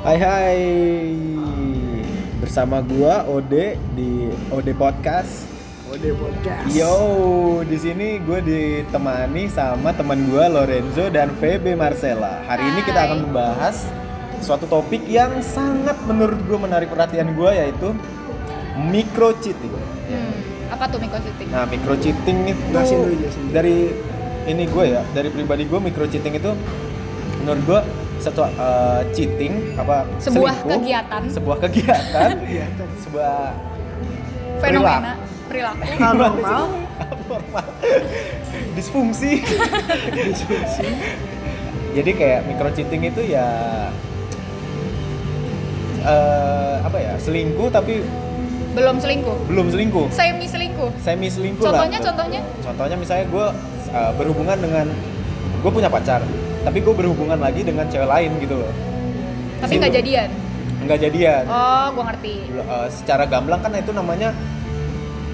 Hai hai Bersama gua Ode di Ode Podcast Ode Podcast. Yo, di sini gue ditemani sama teman gua Lorenzo dan VB Marcela. Hari ini kita akan membahas suatu topik yang sangat menurut gue menarik perhatian gua yaitu micro cheating. Hmm, apa tuh microchipping? Nah, micro cheating itu Jelasin Nah, dulu, jelasin dulu. dari ini gue ya, dari pribadi gue micro cheating itu menurut gue satu eh, cheating apa Sebuah selingkuh, kegiatan. sebuah kegiatan, Iya, kan. sebuah Fenomena perilaku. Paranormal. abnormal, disfungsi. Jadi kayak micro cheating itu ya eh apa ya selingkuh tapi Belum selingkuh. belum selingkuh Semi selingkuh. semi selingkuh Contohnya, lah. contohnya? Contohnya misalnya gue berhubungan dengan gue punya pacar, tapi gue berhubungan lagi dengan cewek lain gitu loh. Tapi Situ. nggak jadian. Nggak jadian. Oh, gua ngerti. Eh, secara gamblang kan itu namanya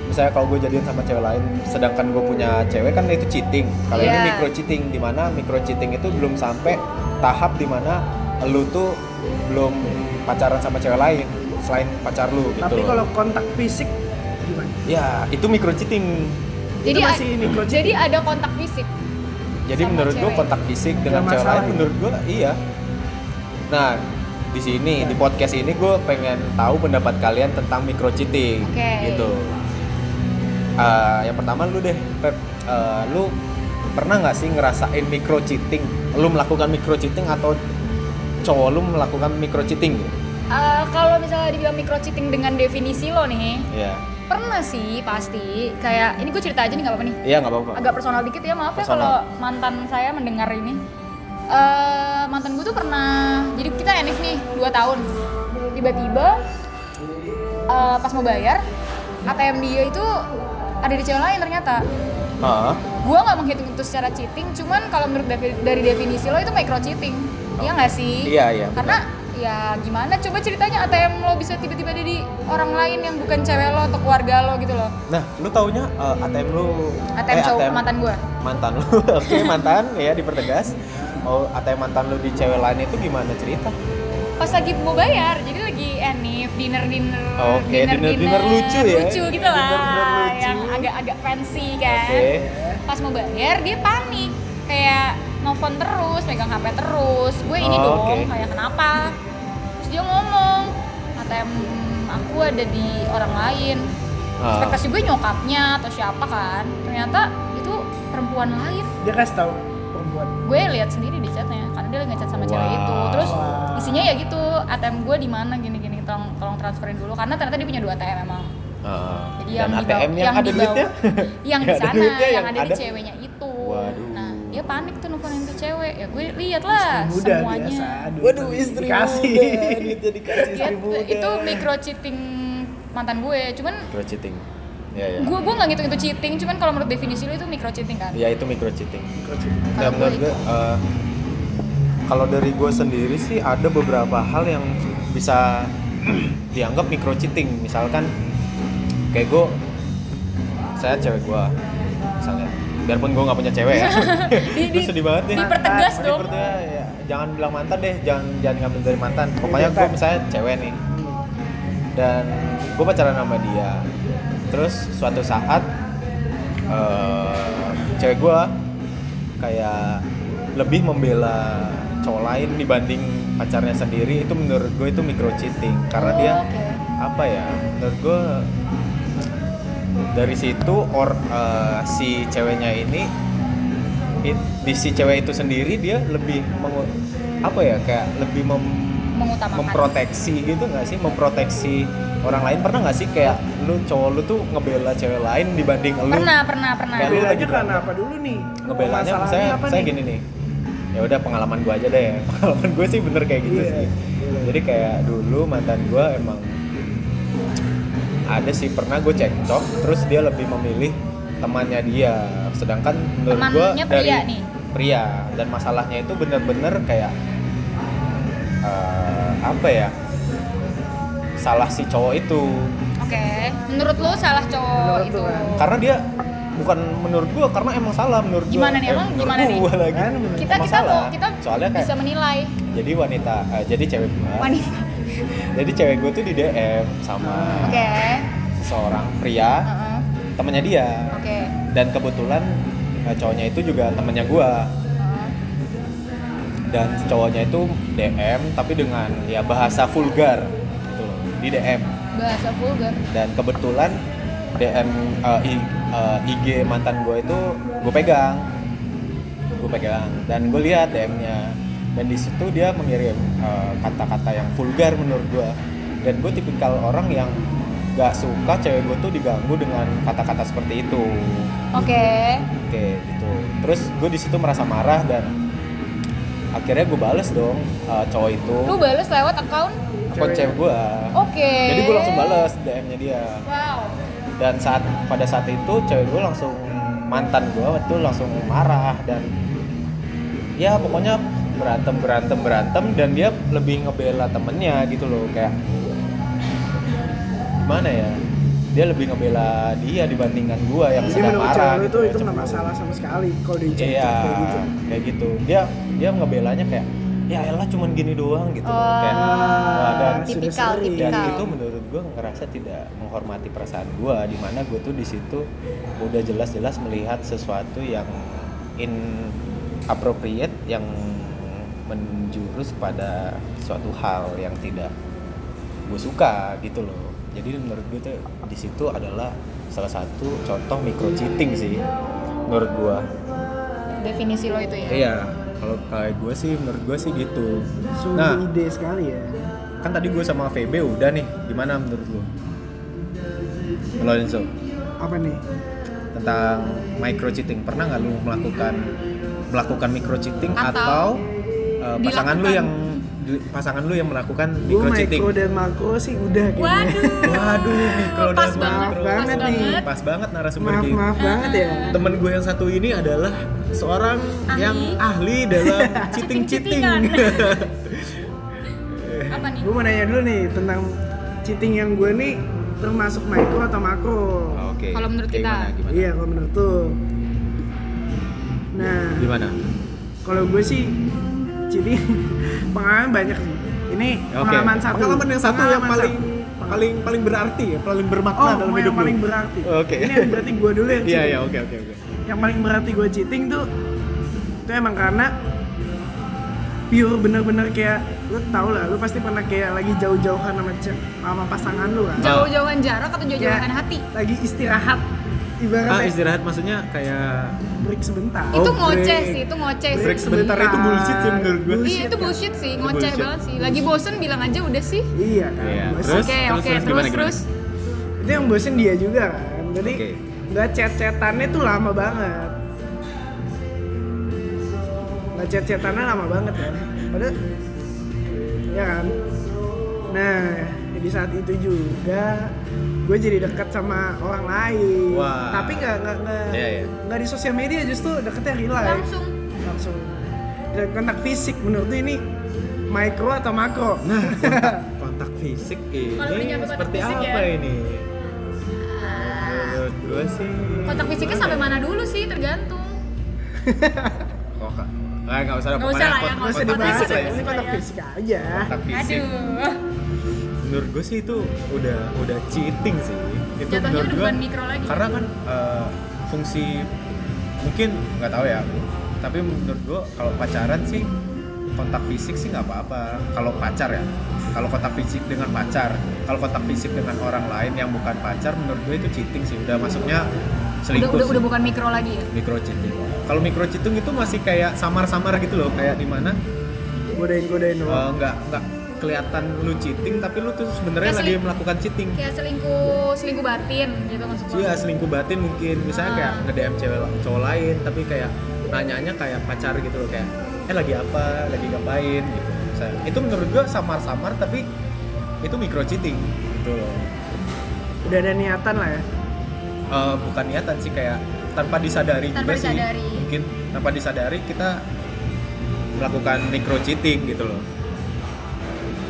misalnya kalau gue jadian sama cewek lain, sedangkan gue punya cewek kan itu cheating. Kalau ini Iya. micro cheating, dimana micro cheating itu belum sampai tahap dimana lu tuh belum pacaran sama cewek lain selain pacar lu gitu. Tapi loh. kalau kontak fisik gimana? ya itu micro cheating. Itu Jadi a- masih microchipping. jadi ada kontak fisik. Jadi Sama menurut gue cewek. kontak fisik dengan Nggak cewek masalah lain ya. menurut gue iya. Nah di sini Iya. di podcast ini gue pengen tahu pendapat kalian tentang micro cheating Oke. gitu. Eh, yang pertama lu deh, Pep, Eh, lu pernah nggak sih ngerasain micro cheating? Lu melakukan micro cheating atau cowok lu melakukan micro cheating? gitu? Eh, kalau misalnya dibilang microchipping dengan definisi lo nih, Iya, pernah sih pasti. Kayak ini gue cerita aja nih nggak apa-apa nih. iya nggak apa-apa. Agak personal dikit ya maaf ya kalau Personal. mantan saya mendengar ini. Eh, mantan gue tuh pernah. Jadi kita enif nih 2 tahun. Tiba-tiba eh, pas mau bayar ATM dia itu ada di cewek lain ternyata. Ah, Gua nggak menghitung itu secara cheating, cuman kalau menurut defi- dari definisi lo itu micro cheating. Iya nggak sih? Iya, iya, Karena ya gimana coba ceritanya ATM lo bisa tiba-tiba ada di orang lain yang bukan cewek lo atau keluarga lo gitu loh. Nah, lu taunya eh, ATM lu Eh, ATM cowok mantan gua. mantan lu. Oke, mantan ya dipertegas. Oh, ATM mantan lu di cewek lain itu gimana cerita? Pas lagi mau bayar, jadi lagi enif dinner dinner. Oke, dinner-dinner lucu ya. Lucu gitu lah, Dinner-dinner lucu. yang agak-agak fancy Oke. kan. Pas mau bayar dia panik, kayak nelfon terus, megang HP terus. Gue ini Oh, dong, oke. kayak kenapa? Terus dia ngomong, ATM aku ada di orang lain. Ah. Ekspektasi gue nyokapnya atau siapa kan? Ternyata itu perempuan lain Dia kasih tahu perempuan. gue lihat sendiri di chatnya karena dia lagi ngechat sama cewek Wow. itu terus isinya ya gitu ATM gue di mana gini gini tolong tolong transferin dulu karena ternyata dia punya dua ATM emang Ah, dan jadi di bawah- ATM yang, ada di bawah- duitnya? yang di Yang ada sana duitnya, yang, yang ada, di ada- ceweknya itu Waduh. nah dia panik tuh nelfonin tuh cewek ya gue lihat lah Muda semuanya biasa. duit Waduh, lebih istri dikasih. muda, duitnya dikasih Dia- istri muda. itu micro cheating mantan gue cuman micro cheating. Ya, ya. gue gue nggak ngitung itu cheating cuman kalau menurut definisi lu itu micro cheating kan Ya, itu micro cheating. Microchipping. Nah, Kalau menurut gue, gue eh, kalau dari gue sendiri sih ada beberapa hal yang bisa dianggap micro cheating. Misalkan kayak gue, saya cewek gue, misalnya. Biarpun gue nggak punya cewek ya. Di- Gue di- sedih banget nih. dipertegas Mantan, dong. dipertegas, ya. Jangan bilang mantan deh, jangan jangan ngambil dari mantan. Pokoknya Iya, gue Mantan. misalnya cewek nih, dan gue pacaran sama dia. Terus suatu saat eh, cewek gue kayak lebih membela cowok lain dibanding pacarnya sendiri itu menurut gue itu micro cheating karena Oh, dia oke. apa ya menurut gue dari situ or eh, si ceweknya ini it- di si cewek itu sendiri dia lebih mengu- apa ya kayak lebih mem- mengutamakan memproteksi gitu nggak sih memproteksi orang lain pernah nggak sih kayak lu cowok lu tuh ngebela cewek lain dibanding lu pernah pernah pernah Kayak lu Ngebelanya lagi karena apa dulu nih? ngebelanya Masalahnya saya apa saya nih? gini nih ya udah pengalaman gue aja deh pengalaman gue sih bener kayak gitu Iya. sih jadi kayak dulu mantan gue emang ada sih pernah gue cekcok terus dia lebih memilih temannya dia sedangkan menurut gue Temannya dari pria nih? pria dan masalahnya itu bener-bener kayak eh, apa ya salah si cowok itu Oke, menurut lo salah cowok Menurut itu. lo kan. karena dia bukan menurut gua karena emang salah menurut gua. Eh, Gimana nih, emang menurut gimana nih? gua lagi. Kan, menurut kita Emang kita salah. mau kita Soalnya kayak- bisa menilai Jadi wanita, eh, jadi cewek gua. wanita. Jadi cewek gua tuh di DM sama Oke. seorang pria Heeh. temennya dia. Oke. Dan kebetulan eh, cowoknya itu juga temennya gua Heeh. dan cowoknya itu DM tapi dengan ya bahasa vulgar gitu loh, di DM. Bahasa vulgar. dan kebetulan DM eh, I- eh, IG mantan gue itu gue pegang gue pegang dan gue lihat DM-nya dan di situ dia mengirim eh, kata-kata yang vulgar menurut gue dan gue tipikal orang yang gak suka cewek gue tuh diganggu dengan kata-kata seperti itu Oke. oke gitu terus gue di situ merasa marah dan akhirnya gue bales dong eh, cowok itu Lu bales lewat account? akun cewek gue Oke. jadi gue langsung bales DM-nya dia Wow. dan saat pada saat itu cewek gue langsung mantan gue waktu itu langsung marah dan ya pokoknya berantem berantem berantem dan dia lebih ngebela temennya gitu loh kayak gimana ya dia lebih ngebela dia dibandingkan gue yang Jadi sedang menurut marah cewek lu itu gitu, itu nggak cemburu. masalah sama sekali kalau di cewek iya kayak gitu. kayak gitu dia dia ngebelanya kayak ya elah cuman gini doang gitu loh. kayak Oh, dan sudah tipikal, sering. dan tipikal. itu menurut gue ngerasa tidak menghormati perasaan gue di mana gue tuh di situ udah jelas-jelas melihat sesuatu yang inappropriate yang menjurus pada suatu hal yang tidak gue suka gitu loh jadi menurut gue tuh di situ adalah salah satu contoh micro cheating sih menurut gue Definisi lo itu ya. iya kalau kayak gue sih menurut gue sih gitu Sungguh nah ide sekali ya. kan tadi gue sama VB udah nih gimana menurut lo Lo Enzo Apa nih? tentang micro cheating pernah nggak lu melakukan melakukan micro cheating atau, Atau eh, pasangan lu dilakukan. yang di- pasangan lu yang melakukan Gue micro cheating mikro Oh, dan makro sih udah kayaknya. Waduh. waduh mikro Pas dan banget, makro. pas Pas banget. banget. pas banget narasumber gitu. maaf kita maaf banget ya. temen gue yang satu ini adalah seorang Ahli. yang ahli dalam cheating cheating Apa nih? Nah. Gue mau nanya dulu nih tentang cheating yang gue nih termasuk mikro atau makro? oke Kalau menurut Kayak kita. gimana Iya kalau menurut tuh. Nah, gimana, gimana? kalau gue sih cheating pengalaman banyak sih. Ini Ya, Oke. pengalaman satu. Pengalaman yang satu yang Pengalaman paling satu. paling paling berarti ya, paling bermakna Oh, dalam mau hidup yang lu. paling berarti. Oke. Ini yang berarti gue dulu yang Iya, cheating. iya, oke, oke, oke. Yang paling berarti gue cheating tuh itu emang karena pure bener-bener kayak lu tau lah, lu pasti pernah kayak lagi jauh-jauhan sama ce- sama pasangan lu kan. Jauh-jauhan jarak atau Ya. Kayak jauh-jauhan hati? Lagi istirahat. Ibaratnya Ah, istirahat maksudnya kayak break sebentar. Oh, itu ngoceh break. sih, itu ngoceh sih. break sebentar itu bullshit sih menurut gue. Iya, Bullshit itu kan? bullshit sih, Itu ngoceh bullshit. banget sih. Lagi bosen bilang aja udah sih. Iya kan. Iya, bosen. Terus, Oke, terus, oke, terus, terus, gimana, gimana? terus. Itu yang bosen dia juga kan. Jadi Oke. nggak chat-chatannya tuh lama banget. Nggak chat-chatannya lama banget kan. Padahal ya kan. Nah, di saat itu juga gue jadi dekat sama orang lain. Wah. Tapi nggak nggak nggak Iya, iya. nggak di sosial media justru deketnya real life. Langsung. Langsung. Dan kontak fisik menurut lu ini mikro atau makro? Nah, kontak, kontak fisik ini Kalau udah nyampe kontak seperti fisik apa ya? ini? Menurut gue sih Kontak fisiknya sampai mana dulu sih, tergantung. Kok Kak? Nah, nggak usah, lah, Nggak pokoknya usah lah ya, kont- Gak nggak usah usah kontak dibahas fisik lah lah ya. ini kontak fisik aja. Kontak fisik. Aduh. menurut gue sih itu udah udah cheating sih itu Jatuhnya menurut udah gue bukan mikro lagi. karena kan eh, fungsi mungkin nggak tahu ya tapi menurut gue kalau pacaran sih kontak fisik sih nggak apa-apa kalau pacar ya kalau kontak fisik dengan pacar kalau kontak fisik dengan orang lain yang bukan pacar menurut gue itu cheating sih udah masuknya Udah, selingkuh udah, sih udah bukan mikro lagi ya. micro cheating kalau micro cheating itu masih kayak samar-samar gitu loh kayak di mana eh, Godain-godain doang. nggak nggak kelihatan lu cheating tapi lu tuh sebenarnya Kayak lagi selingkuh. melakukan cheating Kayak selingkuh, selingkuh batin gitu maksud lo. Iya selingkuh batin mungkin misalnya Ah. kayak nge DM cewek cowok lain tapi kayak nanyanya kayak pacar gitu loh kayak eh lagi apa lagi ngapain gitu misalnya. itu menurut gua samar-samar tapi itu micro cheating gitu loh Udah ada niatan lah ya. Eh, bukan niatan sih kayak tanpa disadari Tanpa juga disadari. sih mungkin tanpa disadari kita melakukan micro cheating gitu loh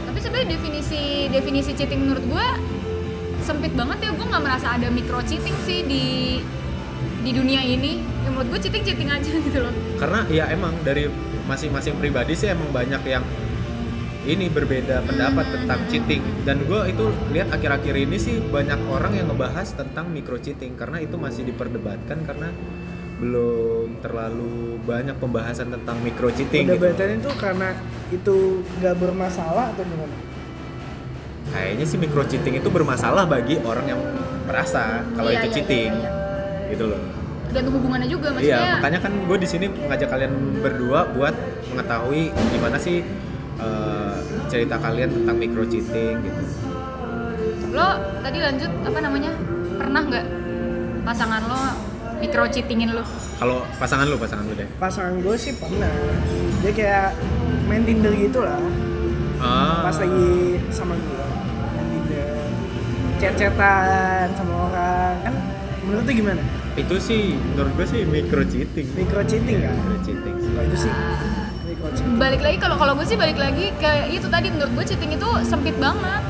Tapi sebenarnya definisi definisi cheating menurut gue sempit banget ya. Gue nggak merasa ada micro cheating sih di di di dunia ini ya menurut gue cheating cheating aja gitu loh karena ya emang dari masing-masing pribadi sih emang banyak yang ini berbeda pendapat Hmm. tentang cheating dan gue itu lihat akhir-akhir ini sih banyak orang yang ngebahas tentang micro cheating karena itu masih diperdebatkan karena belum terlalu banyak pembahasan tentang micro cheating gitu. Perdebatannya tuh karena itu nggak bermasalah atau gimana? Kayaknya sih micro cheating itu bermasalah bagi orang yang merasa kalau Iya, itu iya, cheating iya, gitu loh. tergantung hubungannya juga maksudnya Iya, makanya kan gue di sini mengajak kalian berdua buat mengetahui gimana sih eh, cerita kalian tentang micro cheating gitu. lo tadi lanjut apa namanya pernah nggak pasangan lo micro cheatingin lo Kalau pasangan lu, pasangan lu deh. Pasangan gue sih pernah. Dia kayak main Tinder gitu lah. Ah. Pas lagi sama gue main Tinder, chat-chatan sama orang kan. Menurut tuh gimana? Itu sih menurut gue sih micro cheating. Micro cheating kan? Micro cheating. Kalau itu sih micro cheating. balik lagi kalau kalau gue sih balik lagi ke itu tadi menurut gue cheating itu sempit banget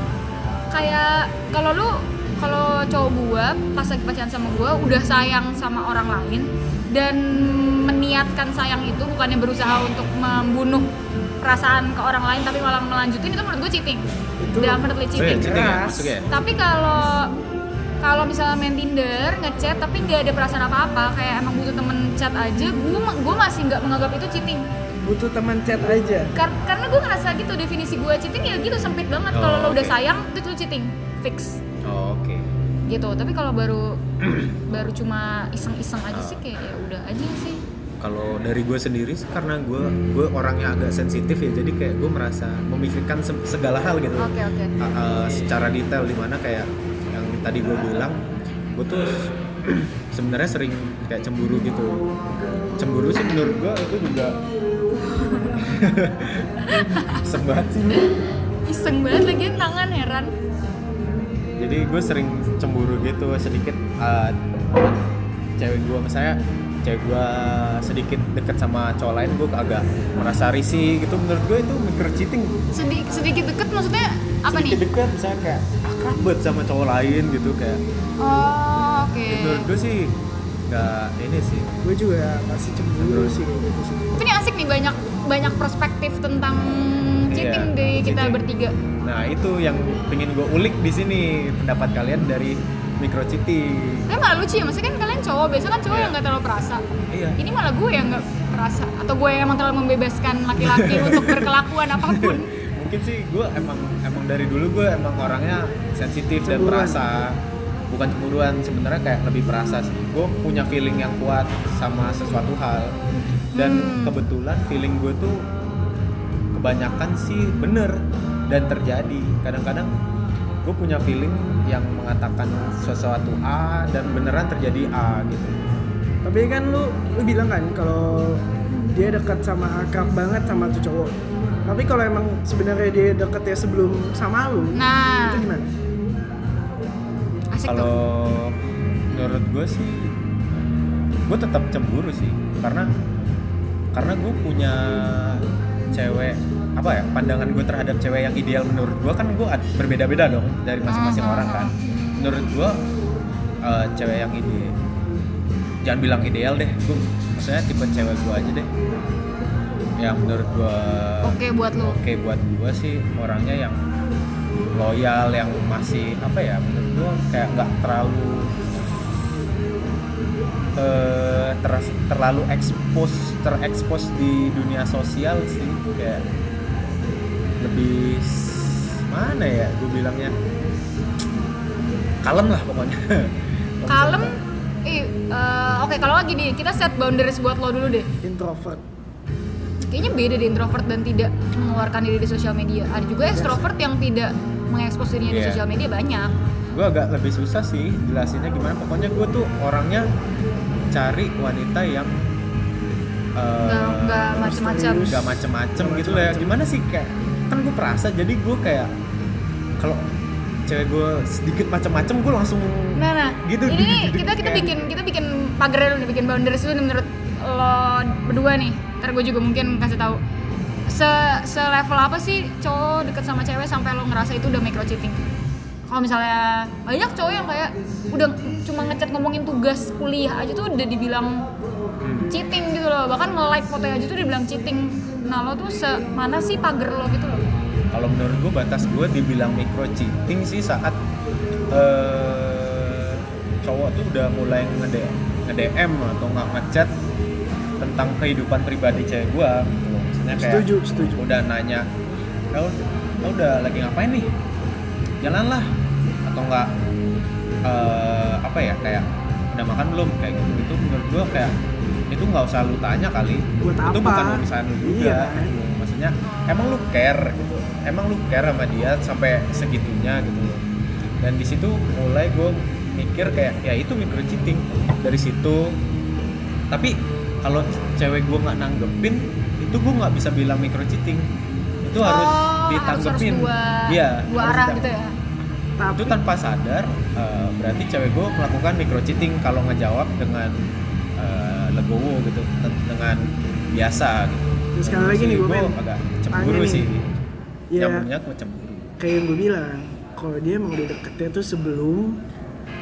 kayak kalau lu kalau cowok gue pas lagi pacaran sama gue udah sayang sama orang lain dan meniatkan sayang itu bukannya berusaha untuk membunuh perasaan ke orang lain tapi malah melanjutin itu menurut gue cheating Itu definitely Oh ya, cheating cheating ya Keras. masuknya ya? tapi kalau kalau misalnya main Tinder ngechat tapi nggak ada perasaan apa-apa kayak emang butuh temen chat aja gue gue masih nggak menganggap itu cheating butuh teman chat aja. Kar- karena gue ngerasa gitu definisi gue cheating ya gitu sempit Oh, banget kalau lo udah oke. sayang itu tuh cheating fix Oh, Oke. gitu tapi kalau baru baru cuma iseng-iseng aja sih kayak ya udah aja sih Kalau dari gue sendiri sih karena gue gue orangnya agak sensitif ya, jadi kayak gue merasa memikirkan se- segala hal gitu. oke oke Uh, uh, secara detail dimana kayak yang tadi gue bilang gue tuh sebenarnya sering kayak cemburu gitu cemburu sih menurut gue itu juga sebat sih lu. iseng banget lagi ya, tangan heran jadi gue sering cemburu gitu sedikit uh, cewek gue misalnya cewek gue sedikit deket sama cowok lain gue agak merasa risih gitu menurut gue itu micro cheating Sedi- sedikit deket maksudnya apa sedikit nih deket misalnya kayak akrab banget sama cowok lain gitu kayak oh oke menurut gue sih nggak ini sih Gue juga masih cemburu sih kayak gitu sih. tapi ini asik nih banyak banyak perspektif tentang cheating Iya, di kita cheating. bertiga nah itu yang pengen gue ulik di sini pendapat kalian dari micro cheating tapi malah lucu ya maksudnya kan kalian cowok biasanya kan cowok Iya. yang nggak terlalu perasa iya ini malah gue yang nggak perasa atau gue yang emang terlalu membebaskan laki-laki untuk berkelakuan apapun mungkin sih gue emang emang dari dulu gue emang orangnya sensitif dan Cemburuan. perasa bukan cemburuan sebenarnya kayak lebih perasa sih gue punya feeling yang kuat sama sesuatu hal dan Hmm. kebetulan feeling gue tuh kebanyakan sih bener dan terjadi kadang-kadang gue punya feeling yang mengatakan sesuatu A dan beneran terjadi A gitu Tapi kan lu lu bilang kan kalau dia dekat sama akrab banget sama tuh cowok. Tapi kalau emang sebenarnya dia deket ya sebelum sama lu, nah itu gimana? asik tuh kalau menurut gue sih gue tetap cemburu sih karena karena gue punya cewek apa ya pandangan gue terhadap cewek yang ideal menurut gue kan gue ad- berbeda-beda dong dari masing-masing Ah, orang ah, kan ah. menurut gue eh, cewek yang ideal jangan bilang ideal deh gue maksudnya tipe cewek gue aja deh yang menurut gue oke buat lo oke buat gua sih orangnya yang loyal yang masih apa ya menurut gua kayak nggak terlalu eh, teras- terlalu ekspos terekspos di dunia sosial sih kayak lebih s- mana ya gue bilangnya kalem lah pokoknya kalem eh, eh, oke kalau lagi nih kita set boundaries buat lo dulu deh Introvert. Nah, kayaknya beda deh introvert dan tidak mengeluarkan diri di sosial media ada juga extrovert yang tidak mengekspos dirinya di Iya. sosial media banyak gue agak lebih susah sih jelasinnya gimana pokoknya gue tuh orangnya cari wanita yang eh, nggak nggak macam-macam serius. nggak macem-macem Nggak gitu lah ya macem-macem. gimana sih kayak kan gue perasa jadi gue kayak kalau cewek gue sedikit macem-macem gue langsung nah nah Gitu, ini gitu, nih gitu, kita kita kayak- bikin kita bikin pagar dulu nih bikin boundaries dulu nih menurut lo berdua nih ntar gue juga mungkin kasih tahu se se level apa sih cowok deket sama cewek sampai lo ngerasa itu udah micro cheating kalau misalnya banyak cowok yang kayak udah cuma ngechat ngomongin tugas kuliah aja tuh udah dibilang Hmm. cheating gitu loh bahkan nge-like foto aja tuh dibilang cheating nah lo tuh se mana sih pagar lo gitu loh kalau menurut gue batas gue dibilang micro cheating sih saat eh, cowok tuh udah mulai ngede nge-DM atau nggak ngechat tentang kehidupan pribadi cewek gue gitu loh. Maksudnya kayak Setuju, setuju. udah nanya "Eh, lo, lo udah lagi ngapain nih jalanlah atau nggak eh, apa ya kayak udah makan belum kayak gitu gitu menurut gue kayak itu nggak usah lu tanya kali Buat itu apa? bukan urusan lu juga Iya. gitu maksudnya emang lu care gitu emang lu care sama dia sampai segitunya gitu loh dan di situ mulai gue mikir kayak ya itu micro cheating dari situ tapi kalau cewek gue nggak nanggepin itu gue nggak bisa bilang micro cheating itu harus Oh, ditanggepin harus, dua, Iya, dua harus arah ditang- gitu ya tapi itu tanpa sadar eh, berarti cewek gue melakukan micro cheating kalau ngejawab dengan eh, legowo gitu ten- dengan biasa gitu Terus Ya, sekali lagi nih, gue Boben. agak Tanya cemburu nih. sih Iya. yang punya gue cemburu kayak yang gue bilang kalau dia emang udah deketnya tuh sebelum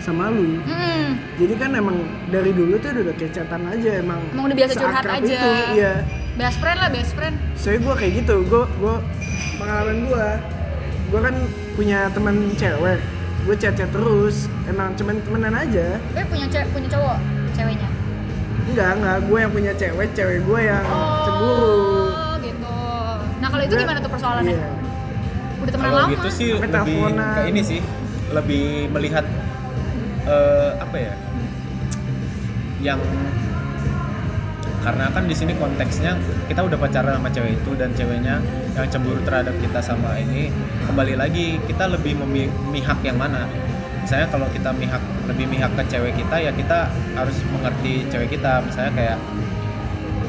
sama lu hmm. jadi kan emang dari dulu tuh udah kecatan aja emang Emang udah biasa curhat seakrab aja. itu, iya best friend lah best friend soalnya gue kayak gitu gue gue pengalaman gue gue kan punya teman cewek gue chat chat terus emang cuman temenan aja tapi Eh, punya cewek punya cowok ceweknya enggak enggak gue yang punya cewek cewek gue yang cemburu oh gitu nah kalau itu gimana tuh persoalannya Iya. udah temenan kalau lama gitu sih Sampai lebih teleponan. kayak ini sih lebih melihat eh, apa ya yang karena kan di sini konteksnya kita udah pacaran sama cewek itu dan ceweknya yang cemburu terhadap kita sama ini kembali lagi kita lebih memihak yang mana misalnya kalau kita mihak lebih mihak ke cewek kita ya kita harus mengerti cewek kita misalnya kayak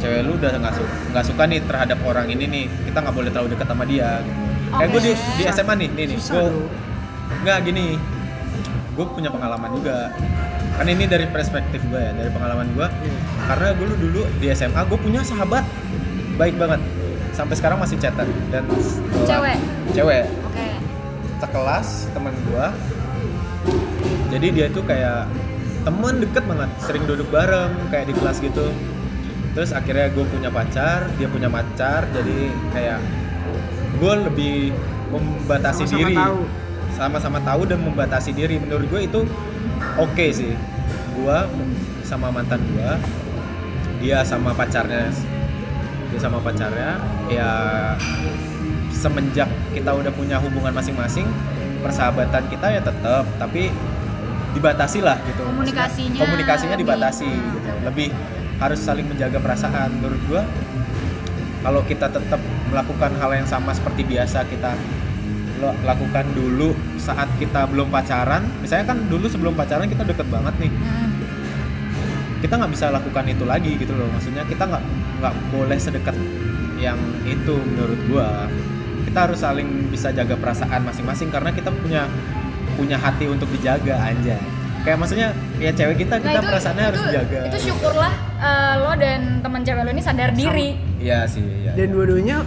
cewek lu udah nggak suka nggak suka nih terhadap orang ini nih kita nggak boleh terlalu dekat sama dia gitu kayak gue di, Oke. di SMA nih nih nih susah gue loh nggak gini gue punya pengalaman juga kan ini dari perspektif gue ya dari pengalaman gue Iya. karena gue dulu, dulu di SMA gue punya sahabat baik banget sampai sekarang masih chatan dan setelah- Cewek? cewek oke sekelas teman gua jadi dia tuh kayak temen deket banget sering duduk bareng kayak di kelas gitu terus akhirnya gue punya pacar dia punya pacar jadi kayak gue lebih membatasi Sama-sama diri tahu. sama-sama tahu dan membatasi diri menurut gue itu oke sih gue sama mantan gue dia sama pacarnya dia sama pacarnya ya semenjak kita udah punya hubungan masing-masing persahabatan kita ya tetap tapi dibatasi lah gitu Komunikasinya komunikasinya lebih- Hmm. dibatasi gitu lebih harus saling menjaga perasaan menurut gua kalau kita tetap melakukan hal yang sama seperti biasa kita lo- lakukan dulu saat kita belum pacaran misalnya kan dulu sebelum pacaran kita deket banget nih Hmm. kita nggak bisa lakukan itu lagi gitu loh maksudnya kita nggak nggak boleh sedekat yang itu menurut gua kita harus saling bisa jaga perasaan masing-masing karena kita punya punya hati untuk dijaga aja kayak maksudnya ya cewek kita kita perasaannya harus dijaga Nah, itu syukurlah eh, lo dan teman cewek lo ini sadar diri iya sih iya dan dua-duanya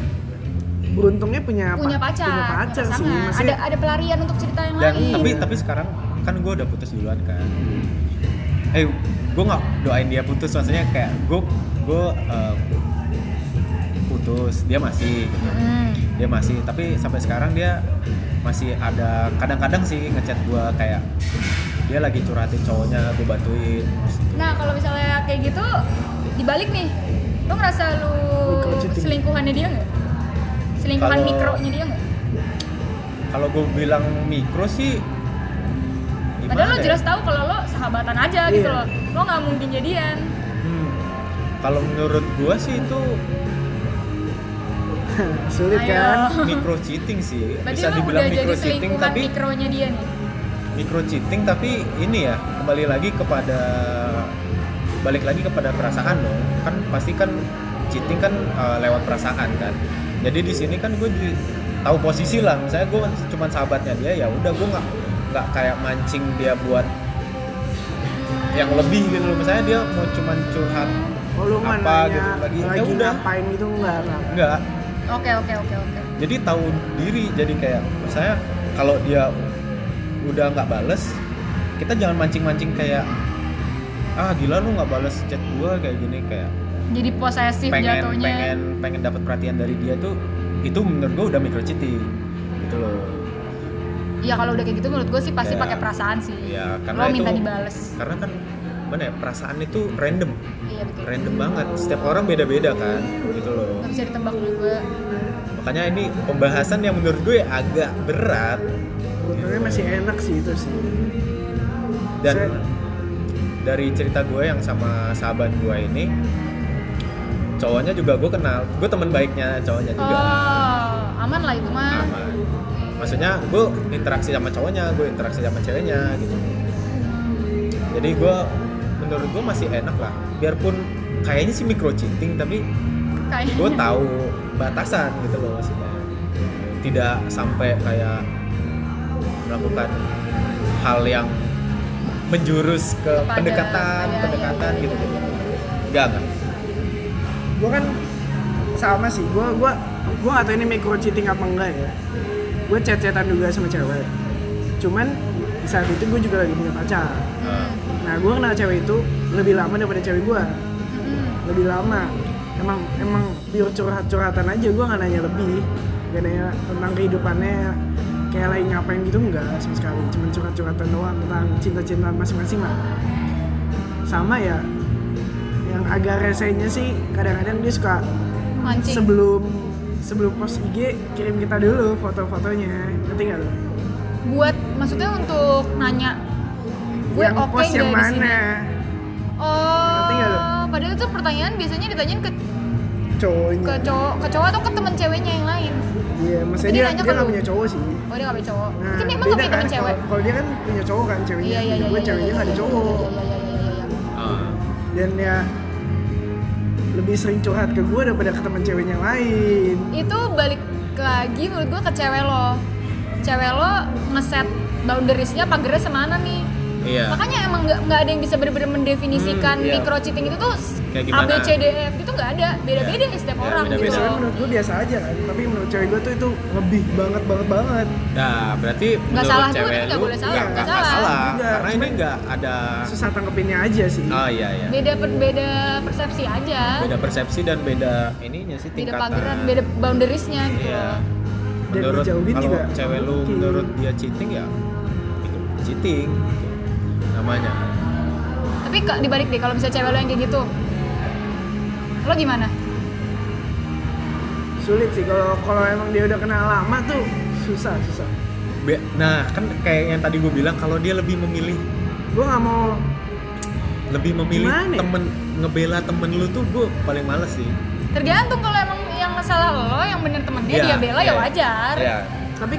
beruntungnya punya apa? punya pacar, punya pacar pasangan. sih ada maksudnya ada pelarian untuk cerita yang dan lain tapi tapi sekarang kan gue udah putus duluan kan eh gue nggak doain dia putus maksudnya kayak gue gue eh, putus dia masih gitu. Hmm. dia masih tapi sampai sekarang dia masih ada kadang-kadang sih ngechat gua kayak dia lagi curhatin cowoknya gue bantuin nah kalau misalnya kayak gitu dibalik nih lo ngerasa lo Micro cheating. selingkuhannya dia nggak selingkuhan Kalau- mikronya dia nggak kalau gue bilang mikro sih gimana padahal lo ya? jelas tahu kalau lo sahabatan aja gitu Iya. loh lo nggak mungkin jadian Hmm. kalau menurut gua sih itu sulit Ayo. kan mikro cheating sih berarti bisa lo dibilang udah jadi mikro cheating selingkuhan tapi mikronya dia nih micro cheating tapi ini ya kembali lagi kepada balik lagi kepada perasaan dong kan pasti kan cheating kan uh, lewat perasaan kan jadi di sini kan gue tahu posisi lah misalnya gue cuma sahabatnya dia ya udah gue nggak nggak kayak mancing dia buat yang lebih gitu loh misalnya dia mau cuman curhat oh lu mah apa nanya gitu lagi lagi, ya udah ngapain gitu enggak enggak enggak oke oke oke oke jadi tahu diri jadi kayak misalnya kalau dia udah nggak bales kita jangan mancing-mancing kayak ah gila lu nggak bales chat gua kayak gini kayak jadi posesif pengen jatuhnya pengen pengen dapat perhatian dari dia tuh itu menurut gua udah microcheating gitu loh ya kalau udah kayak gitu menurut gue sih pasti Kayak- pakai perasaan sih Iya, karena lo minta itu- dibales karena kan mana ya perasaan itu random iya betul random banget setiap orang beda-beda kan gitu loh nggak bisa ditembak juga makanya ini pembahasan yang menurut gue agak berat Untungnya masih enak sih itu sih. dan Saya- dari cerita gue yang sama sahabat gue ini cowoknya juga gue kenal gue teman baiknya cowoknya juga oh aman lah itu mah Iya. aman maksudnya gue interaksi sama cowoknya gue interaksi sama ceweknya gitu jadi gue menurut gue masih enak lah biarpun kayaknya sih micro cheating tapi kayaknya gue tahu batasan gitu loh maksudnya tidak sampai kayak melakukan hal yang menjurus ke Kepada- pendekatan iya, iya, pendekatan iya, gitu iya, iya. enggak enggak Gue kan sama sih. Gue gua gua nggak tahu ini micro cheating apa enggak ya. Gue chat-chatan juga sama cewek. Cuman di saat itu gue juga lagi punya pacar. Nah, Hmm, Nah gue kenal cewek itu lebih lama daripada cewek gue. Mm-mm. Lebih lama. Emang emang pure curhat-curhatan aja. Gue nggak nanya lebih. Gak nanya tentang kehidupannya kayak lagi ngapain gitu enggak sama sekali. Cuman curhat-curhatan doang tentang cinta-cinta masing-masing lah. Sama ya yang agak resenya sih kadang-kadang dia suka mancing sebelum sebelum post IG kirim kita dulu foto-fotonya ngerti nggak lo? buat maksudnya untuk nanya gue yang oke post nggak yang di sini? mana Ngerti nggak lu? oh padahal itu pertanyaan biasanya ditanyain ke cowoknya ke cowok ke cowok atau ke teman ceweknya yang lain Iya, maksudnya Jadi dia, nanya dia ke nggak lu. punya cowok sih. oh dia nggak punya cowok Nah, mungkin dia emang beda nggak kan punya teman cewek kalau, kalau dia kan punya cowok kan ceweknya, iya iya iya gue iya, ceweknya iya, nggak ada iya, cowok. iya iya iya iya, iya. ah, Dan ya lebih sering curhat ke gue daripada ke teman ceweknya lain. itu balik lagi menurut gue ke cewek lo cewek lo ngeset boundariesnya pagernya semana nih iya makanya emang nggak nggak ada yang bisa benar-benar mendefinisikan Hmm, iya. micro cheating itu tuh s- Kayak A B gimana? C D E F gitu nggak ada beda-beda Iya. setiap Iya, orang gitu beda-beda. Biasanya loh menurut gue biasa aja kan, tapi menurut cewek gue tuh itu lebih banget banget banget. nah berarti menurut salah gua, cewek ini nggak lu boleh salah, nggak- nggak nggak- nggak salah. salah Nggak, karena ini cuman- nggak ada Susah tangkepinnya aja sih. oh iya iya beda per- beda persepsi aja beda persepsi dan beda ininya sih beda tingkatan pageran beda boundariesnya gitu Iya. loh Dan Menurut dijauhin kalau juga cewek lu mungkin. menurut dia cheating ya itu cheating gitu. namanya. tapi kak dibalik deh kalau misalnya cewek lo yang kayak gitu lo gimana Sulit sih kalau kalau emang dia udah kenal lama tuh susah susah. Be- nah kan kayak yang tadi gue bilang kalau dia lebih memilih Gue nggak mau lebih memilih Gimana ya? temen ngebela temen lu tuh gue paling males sih. tergantung kalau emang yang salah lo yang bener temen dia Iya, dia bela iya. ya wajar Iya. tapi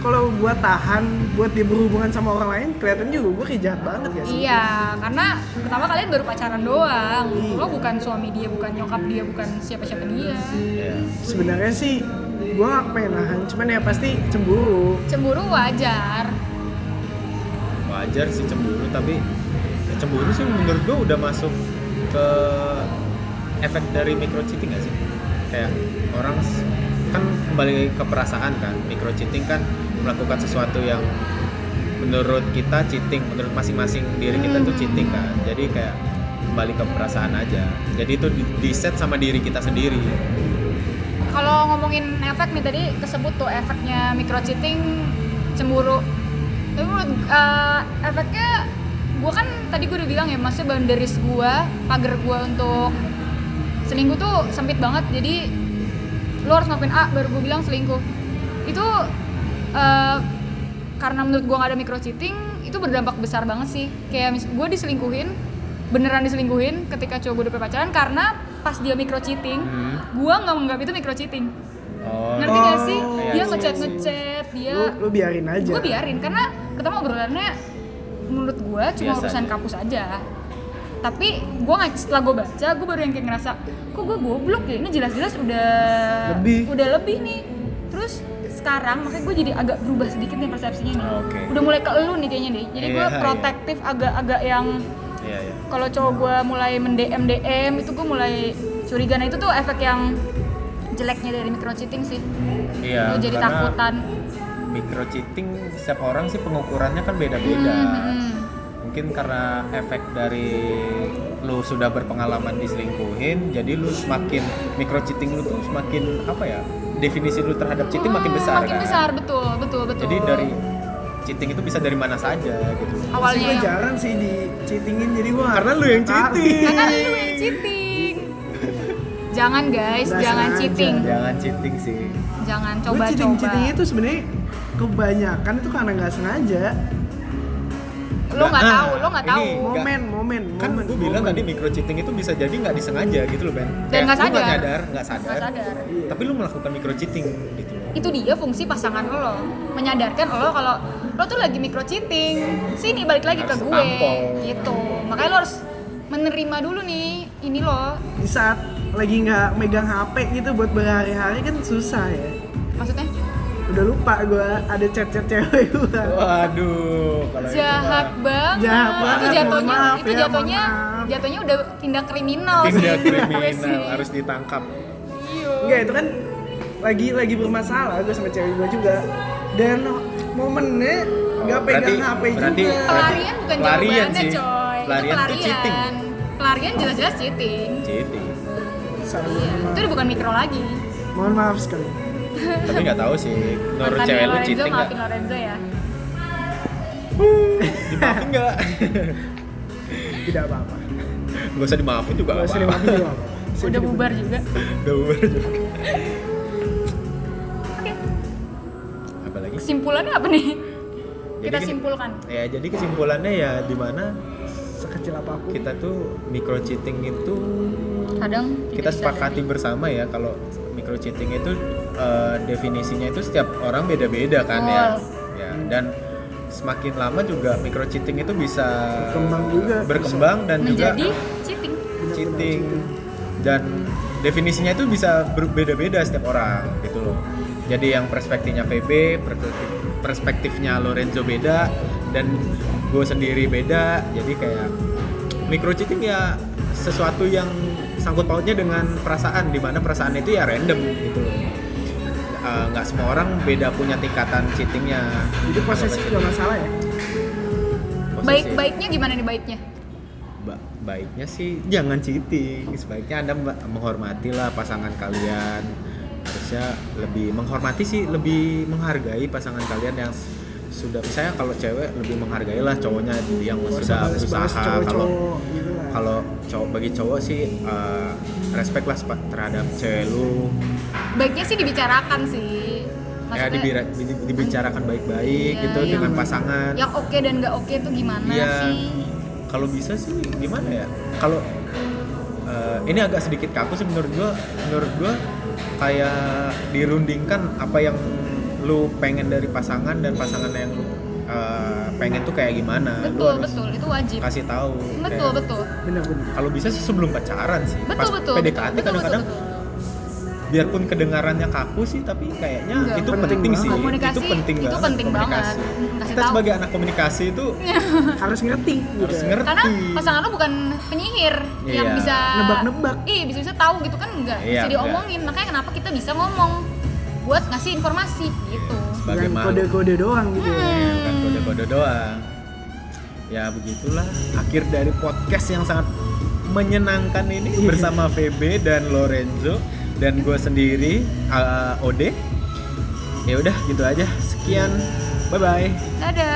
kalau gua tahan buat dia berhubungan sama orang lain kelihatan juga gue kayak jahat banget ya sih Iya, karena pertama kalian baru pacaran doang. Iya. Lo bukan suami dia, bukan nyokap dia, bukan siapa-siapa dia. Iya. sebenarnya sih gua gak pengen nahan cuman ya pasti cemburu Cemburu wajar. Wajar sih cemburu tapi ya cemburu sih menurut gue udah masuk ke efek dari micro cheating gak sih? Kayak orang s- kan kembali ke perasaan kan. Micro cheating kan melakukan sesuatu yang menurut kita cheating, menurut masing-masing diri kita itu Hmm. cheating kan. Jadi kayak kembali ke perasaan aja. Jadi itu di, di set sama diri kita sendiri. Kalau ngomongin efek nih tadi kesebut tuh efeknya micro cheating cemburu. Tapi menurut eh, efeknya gue kan tadi gue udah bilang ya, maksudnya boundaries gue, pagar gue untuk selingkuh tuh sempit banget. Jadi lo harus ngapain A baru gue bilang selingkuh. Itu eh, karena menurut gue gak ada micro cheating itu berdampak besar banget sih. Kayak mis- gue diselingkuhin, beneran diselingkuhin ketika cowok gue udah pacaran karena pas dia micro cheating Hmm. gua nggak menganggap itu micro cheating Oh. ngerti gak sih iya, dia iya, ngechat iya. ngechat dia lu, lu biarin aja gua biarin karena pertama obrolannya menurut gua cuma Biasa urusan aja. kampus aja tapi gua nggak setelah gua baca gua baru yang kayak ngerasa kok gua goblok ya ini jelas-jelas udah Lebih. udah lebih nih terus sekarang makanya gue jadi agak berubah sedikit nih persepsinya nih Oke. udah mulai ke elu nih kayaknya deh jadi gua Iya, iya. protektif agak-agak yang Iya, iya. kalau cowok gue mulai mendm dm itu gue mulai curiga nah itu tuh efek yang jeleknya dari micro cheating sih Iya, lo jadi karena- takutan micro cheating setiap orang sih pengukurannya kan beda-beda Hmm, mungkin karena efek dari lu sudah berpengalaman diselingkuhin jadi lu semakin micro cheating lu tuh semakin apa ya definisi lu terhadap cheating makin Hmm, besar makin kan besar betul betul betul jadi dari cheating itu bisa dari mana saja gitu awalnya ya. gue yang- jarang sih di cheatingin jadi gue karena lu yang cheating karena lu yang cheating jangan guys Nah, Nggak jangan sengaja. cheating jangan cheating sih jangan coba cheating coba-coba cheatingnya itu sebenarnya kebanyakan itu karena nggak sengaja lu nggak Nah, tahu lu nggak ini tahu Nggak. momen momen kan momen gue bilang momen. tadi micro cheating itu bisa jadi nggak disengaja gitu loh Ben Dan nggak Kayak lu sadar. nyadar nggak sadar, nggak sadar Iya. tapi lu melakukan micro cheating gitu loh itu dia fungsi pasangan lo menyadarkan lo kalau lo tuh lagi micro cheating sini balik lagi ke Harus gue tampol. gitu makanya lo harus menerima dulu nih ini lo di saat lagi nggak megang HP gitu buat berhari-hari kan susah ya maksudnya udah lupa gue ada chat-chat cewek gue waduh kalau itu jahat mah. banget Jahat itu banget, mohon jatuhnya maaf ya, itu mohon jatuhnya maaf. jatuhnya udah tindak kriminal sih tindak menurut gue kriminal sih. harus ditangkap Iya. Enggak itu kan lagi lagi bermasalah gue sama cewek gue juga dan momennya nggak Oh, pegang berarti- HP berarti- eh. juga. pelarian bukan Pelarian jawabannya sih. coy Pelarian itu tuh pelarian cheating. pelarian jelas-jelas cheating cheating Salah gue, Iya. mohon itu udah bukan mikro lagi maaf. Mohon maaf sekali. tapi nggak tahu sih menurut Mantannya cewek lu Lorenzo, cheating nggak maafin Lorenzo ya dimaafin nggak Tidak apa-apa. nggak usah dimaafin juga Gue nggak sini maafin apa-apa juga. apa-apa. Saya udah tidak bubar peduli. juga udah bubar juga oke apa lagi kesimpulannya apa nih kita gini- simpulkan ya jadi kesimpulannya ya dimana Sekecil apapun. kita tuh micro cheating itu kadang kita tidak sepakati bersama ya kalau micro cheating itu eh, definisinya itu setiap orang beda-beda kan ya. Betul. Ya, dan semakin lama juga micro cheating itu bisa Berkembang juga. berkembang dan disadari. menjadi juga cheating cheating dan definisinya itu bisa berbeda-beda setiap orang gitu loh. Jadi yang perspektifnya VB, perspektif- perspektifnya Lorenzo beda dan gue sendiri beda. Jadi kayak micro cheating ya sesuatu yang sangkut pautnya dengan perasaan di mana perasaan itu ya random gitu loh. Eh, nggak semua orang beda punya tingkatan cheatingnya. Jadi posesif gak masalah ya. Posesif. baik baiknya gimana nih baiknya Ba- baiknya sih jangan cheating sebaiknya anda mba- menghormatilah pasangan kalian harusnya lebih menghormati sih lebih menghargai pasangan kalian yang s- sudah saya kalau cewek lebih menghargailah cowoknya yang Gak usah sudah balas-balas berusaha kalau cowok-cowok gitu lah. kalau cowok bagi cowok sih eh, respect lah sepa- terhadap cewek lu baiknya sih dibicarakan sih ya dibira- di- dibicarakan baik-baik Iya, gitu yang- dengan pasangan yang oke dan nggak oke tuh gimana Iya. sih kalau bisa sih gimana ya kalau eh, ini agak sedikit kaku sih menurut gua menurut gua kayak dirundingkan apa yang lu pengen dari pasangan dan pasangan yang lu eh, pengen tuh kayak gimana Lu betul harus betul itu wajib kasih tahu betul Kayak- betul Bener-bener. kalau bisa sih sebelum pacaran sih betul pas betul PDKT betul, kadang-kadang betul, betul. biarpun kedengarannya kaku sih tapi kayaknya Enggak, itu penting penting, banget. sih Komunikasi itu penting itu banget penting banget. komunikasi. Kasih kita tahu. sebagai anak komunikasi itu Harus ngerti. gitu. harus ngerti karena pasangan lo bukan penyihir yang Iya. bisa Nebak-nebak. iya bisa bisa tahu gitu kan enggak Iya, bisa diomongin makanya kenapa kita bisa ngomong buat ngasih informasi gitu sebagai Jangan makhluk kode-kode doang gitu. ya. Ya, bukan kode-kode doang ya begitulah akhir dari podcast yang sangat menyenangkan ini bersama VB dan Lorenzo dan gue sendiri uh, Ode ya udah gitu aja sekian bye bye dadah